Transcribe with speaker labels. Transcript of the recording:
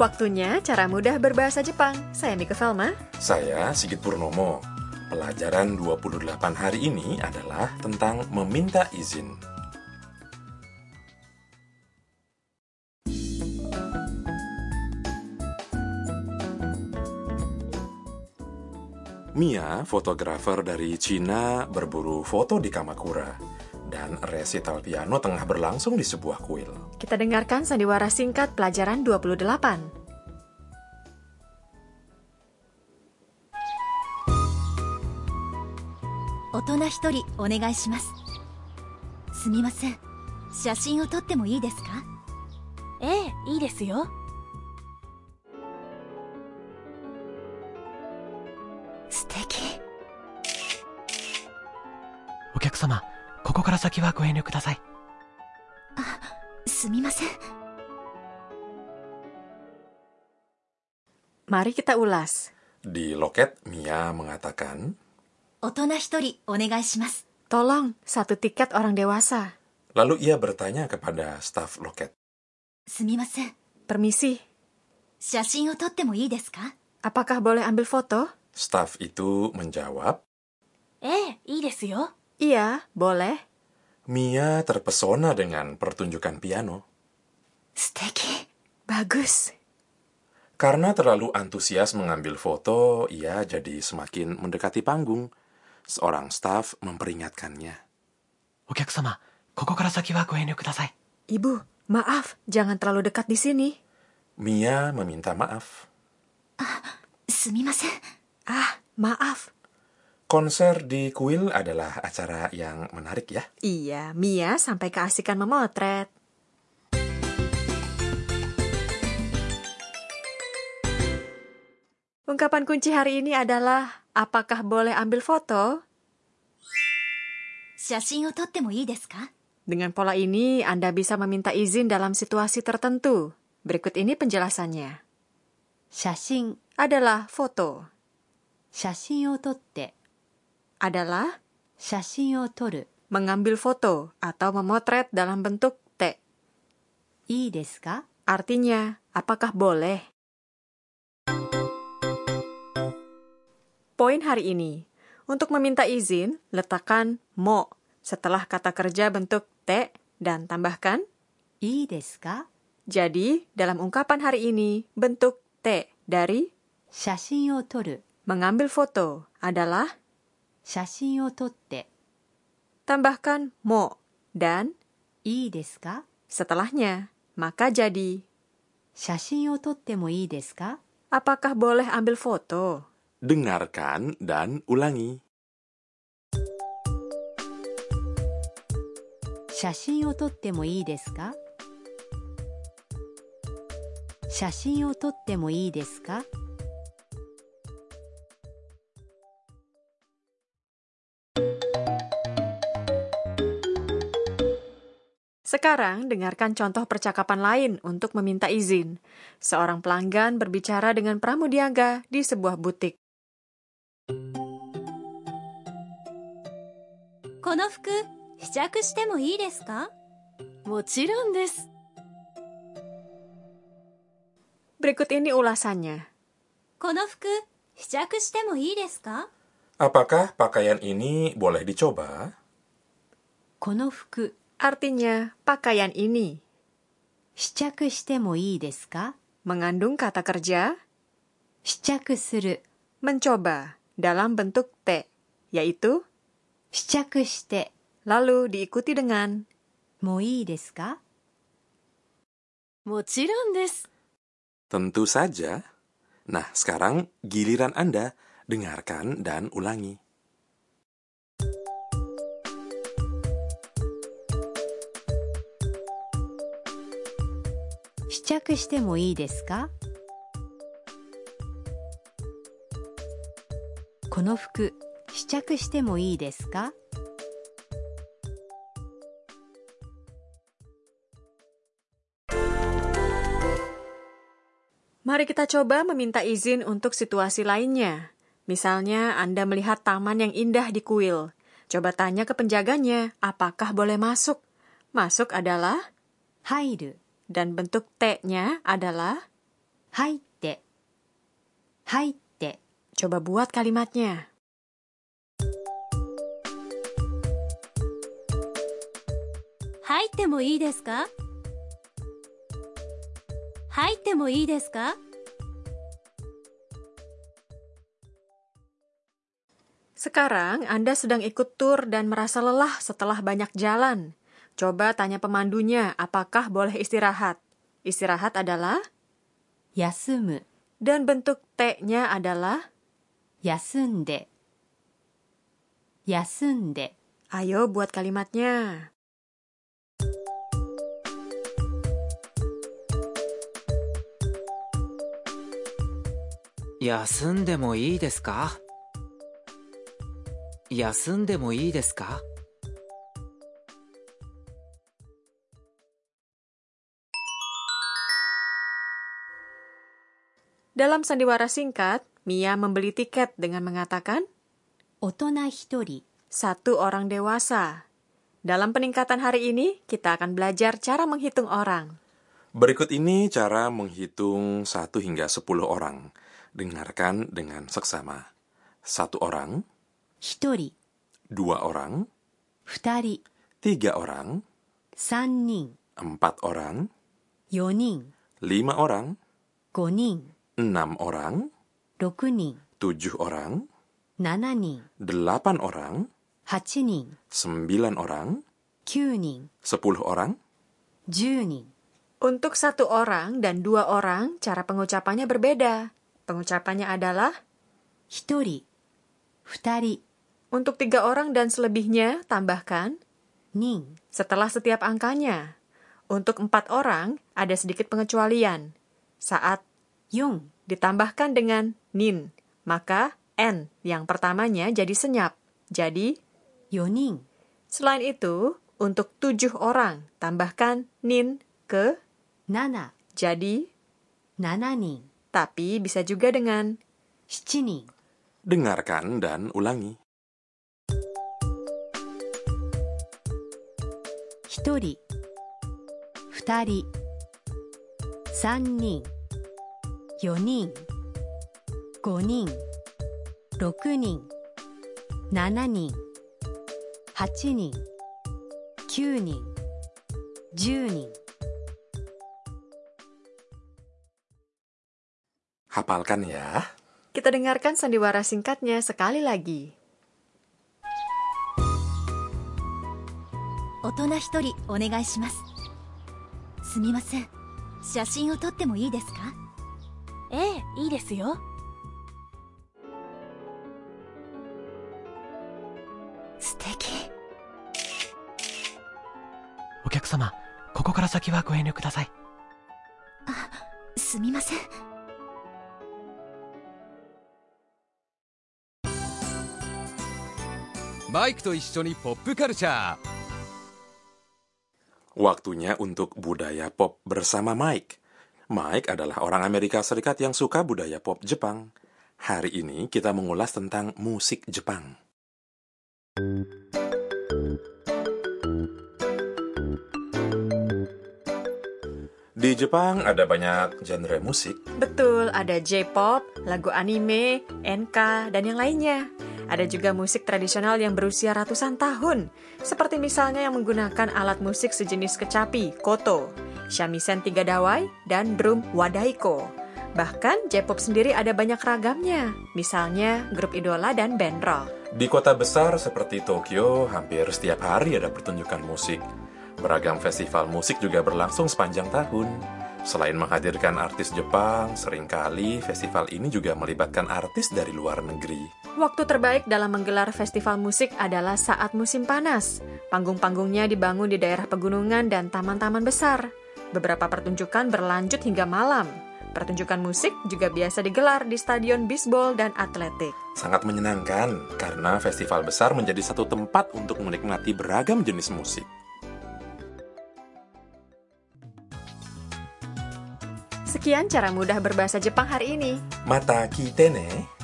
Speaker 1: Waktunya cara mudah berbahasa Jepang. Saya Mika Salma.
Speaker 2: Saya Sigit Purnomo. Pelajaran 28 hari ini adalah tentang meminta izin. Mia, fotografer dari Cina, berburu foto di Kamakura dan resital piano tengah berlangsung di sebuah kuil.
Speaker 1: Kita dengarkan sandiwara singkat pelajaran 28.
Speaker 3: 大人一人お願いしますすみません写真を撮ってもいいですか
Speaker 4: ええいいですよ
Speaker 3: 素敵
Speaker 5: お客様、ここから先はご遠慮ください。
Speaker 3: すみません
Speaker 1: Mari kita ulas.
Speaker 2: Di loket, Mia mengatakan,
Speaker 3: 大人一人お願いします
Speaker 1: Tolong, satu tiket orang dewasa.
Speaker 2: lalu ia bertanya kepada staf loket,
Speaker 3: すみません
Speaker 1: Permisi,
Speaker 3: 写真を撮ってもいいですか
Speaker 1: apakah boleh ambil foto?
Speaker 2: Staf itu menjawab,
Speaker 4: ええいいですよ
Speaker 1: Iya, boleh.
Speaker 2: Mia terpesona dengan pertunjukan piano.
Speaker 3: 素敵
Speaker 1: Bagus.
Speaker 2: Karena terlalu antusias mengambil foto, ia jadi semakin mendekati panggung. Seorang staf memperingatkannya.
Speaker 5: お客様、ここから先はご遠慮ください。
Speaker 1: Ibu, maaf, jangan terlalu dekat di sini.
Speaker 2: Mia meminta maaf.
Speaker 3: すみません
Speaker 1: Ah, maaf.
Speaker 2: Konser di kuil adalah acara yang menarik ya.
Speaker 1: Iya, Mia sampai keasikan memotret. Ungkapan kunci hari ini adalah apakah boleh ambil foto?
Speaker 3: 写真を撮ってもいいですか
Speaker 1: Dengan pola ini, Anda bisa meminta izin dalam situasi tertentu. Berikut ini penjelasannya.
Speaker 6: 写真
Speaker 1: Adalah foto.
Speaker 6: 写真を撮って
Speaker 1: Adalah
Speaker 6: 写真を撮る
Speaker 1: mengambil foto atau memotret dalam bentuk T.
Speaker 6: いいですか
Speaker 1: Artinya, apakah boleh? Poin hari ini. Untuk meminta izin, letakkan mo setelah kata kerja bentuk T dan tambahkan
Speaker 6: いいですか
Speaker 1: jadi dalam ungkapan hari ini bentuk T dari
Speaker 6: 写真を撮る
Speaker 1: mengambil foto adalah
Speaker 6: 写真を撮って
Speaker 1: tambahkan mo dan
Speaker 6: いいですか
Speaker 1: setelahnya maka jadi
Speaker 6: 写真を撮ってもいいですか
Speaker 1: apakah boleh ambil foto?
Speaker 2: Dengarkan dan ulangi.
Speaker 6: 写真を撮ってもいいですか写真を撮ってもいいですか
Speaker 1: Sekarang dengarkan contoh percakapan lain untuk meminta izin. Seorang pelanggan berbicara dengan pramudiaga di sebuah butik.
Speaker 4: この服試着してもいいですかもちろんです
Speaker 1: Berikut ini ulasannya.
Speaker 4: この服試着してもいいですか
Speaker 2: Apakah pakaian ini boleh dicoba?
Speaker 6: この服
Speaker 1: Artinya, pakaian ini
Speaker 6: 試着してもいいですか
Speaker 1: mengandung kata kerja
Speaker 6: 試着する
Speaker 1: mencoba dalam bentuk T, yaitu
Speaker 6: 試着して
Speaker 1: lalu diikuti dengan
Speaker 6: もいいですか
Speaker 4: もちろんです
Speaker 2: Tentu saja. Nah, sekarang giliran Anda. Dengarkan dan ulangi.
Speaker 6: 試着してもいいですかこの服試着してもいいですか
Speaker 1: Mari kita coba meminta izin untuk situasi lainnya. Misalnya, Anda melihat taman yang indah di kuil. Coba tanya ke penjaganya, apakah boleh masuk? Masuk adalah
Speaker 6: 入る
Speaker 1: dan bentuk T-nya adalah
Speaker 6: 入って入って
Speaker 1: Coba buat kalimatnya.
Speaker 4: 入ってもいいですか入ってもいいですか
Speaker 1: Sekarang Anda sedang ikut tur dan merasa lelah setelah banyak jalan. Coba tanya pemandunya apakah boleh istirahat. Istirahat adalah
Speaker 6: 休む
Speaker 1: dan bentuk T-nya adalah
Speaker 6: 休んで休んで
Speaker 1: Ayo buat kalimatnya.
Speaker 7: 休んでもいいですか休んでもいいですか
Speaker 1: Dalam sandiwara singkat, Mia membeli tiket dengan mengatakan
Speaker 6: 大人一人
Speaker 1: satu orang dewasa. Dalam peningkatan hari ini, kita akan belajar cara menghitung orang.
Speaker 2: Berikut ini cara menghitung 1 hingga 10 orang. Dengarkan dengan seksama. Satu orang,
Speaker 6: 一人
Speaker 2: dua orang,
Speaker 6: 二人
Speaker 2: tiga orang,
Speaker 6: 三人
Speaker 2: empat orang,
Speaker 6: 四人
Speaker 2: lima orang,
Speaker 6: 五人
Speaker 2: enam orang,
Speaker 6: 六人
Speaker 2: tujuh orang,
Speaker 6: 七人
Speaker 2: delapan orang,
Speaker 6: 八人
Speaker 2: sembilan orang,
Speaker 6: 九人
Speaker 2: sepuluh orang,
Speaker 6: 十人
Speaker 1: Untuk satu orang dan dua orang, cara pengucapannya berbeda. Pengucapannya adalah
Speaker 6: 一人二人
Speaker 1: untuk tiga orang dan selebihnya tambahkan
Speaker 6: 人
Speaker 1: setelah setiap angkanya. Untuk empat orang, ada sedikit pengecualian. Saat
Speaker 6: 四
Speaker 1: ditambahkan dengan nin, maka n yang pertamanya jadi senyap. Jadi,
Speaker 6: 四人
Speaker 1: selain itu, untuk tujuh orang, tambahkan nin ke
Speaker 6: 七
Speaker 1: jadi,
Speaker 6: 七人
Speaker 1: tapi bisa juga dengan
Speaker 6: 七人
Speaker 2: dengarkan dan ulangi.
Speaker 6: 一人二人三人四人五人六人七人八人九人十人
Speaker 2: Hafalkan ya.
Speaker 1: Kita dengarkan sandiwara singkatnya sekali lagi.
Speaker 3: 大人一人お願いしますすみません写真を撮ってもいいですか
Speaker 4: ええいいですよ
Speaker 3: 素敵
Speaker 5: お客様、ここから先はご遠慮ください。
Speaker 3: すみません
Speaker 8: マイクと一緒にポップカルチャー
Speaker 2: Waktunya untuk budaya pop bersama Mike. Mike adalah orang Amerika Serikat yang suka budaya pop Jepang. Hari ini kita mengulas tentang musik Jepang. Di Jepang ada banyak genre musik.
Speaker 1: Betul, ada J-pop, lagu anime, NK, dan yang lainnya. Ada juga musik tradisional yang berusia ratusan tahun, seperti misalnya yang menggunakan alat musik sejenis kecapi, koto, shamisen tiga dawai, dan drum wadaiko. Bahkan J-pop sendiri ada banyak ragamnya, misalnya grup idola dan band rock.
Speaker 2: Di kota besar seperti Tokyo, hampir setiap hari ada pertunjukan musik. Beragam festival musik juga berlangsung sepanjang tahun. Selain menghadirkan artis Jepang, seringkali festival ini juga melibatkan artis dari luar negeri.
Speaker 1: Waktu terbaik dalam menggelar festival musik adalah saat musim panas. Panggung-panggungnya dibangun di daerah pegunungan dan taman-taman besar. Beberapa pertunjukan berlanjut hingga malam. Pertunjukan musik juga biasa digelar di stadion bisbol dan atletik.
Speaker 2: Sangat menyenangkan karena festival besar menjadi satu tempat untuk menikmati beragam jenis musik.
Speaker 1: セキアンチャラムダ berbahasa Jepang hari ini。
Speaker 2: Mata kite ne